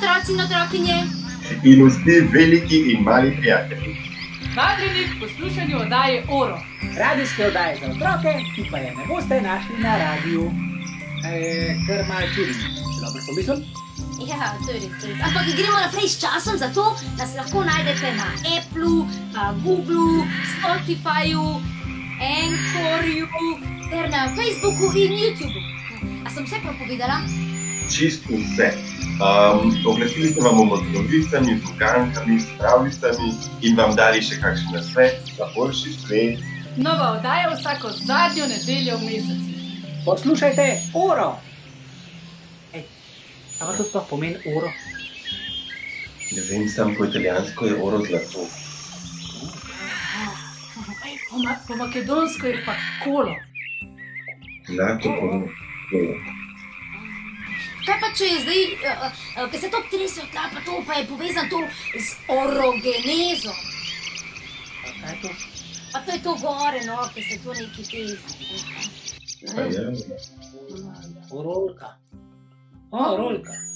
Vacino trokinje, in vsi veliki in mali prijatelji. Vabljeni k poslušanju oddaje Oro. Radijske oddaje za otroke, ki pa je ne boste našli na radiju. E, kar malo čudno, dobro pomislim. ja, tudi, tudi. Ampak gremo naprej s časom, zato nas lahko najdete na Appleu, pa Googlu, Spotifyju, Enkorju, ter na Facebooku in YouTubu. A sem vse prav povedala? Čist vse. Um, oglasili se vam bomo z novicami, z ugankami, s pravljicami in vam dali še kakšen nasvet za boljši svet. Nova oddaja vsako zadnjo nedeljo v mesecu. Poslušajte oro. Ej, Ampak to sploh pomeni oro. Ne vem, sam po italijansko je oro zlato. Ej, Po, ma po makedonsko je pa kolo. Enako pomeni. Kaj pa če je zdaj, ki se to trese od tla, pa to pa je povezano to z orogenezo. Kaj je to? Pa to je to gore, no, ki se to neki teži. Pa ja, Orolka. O, orolka.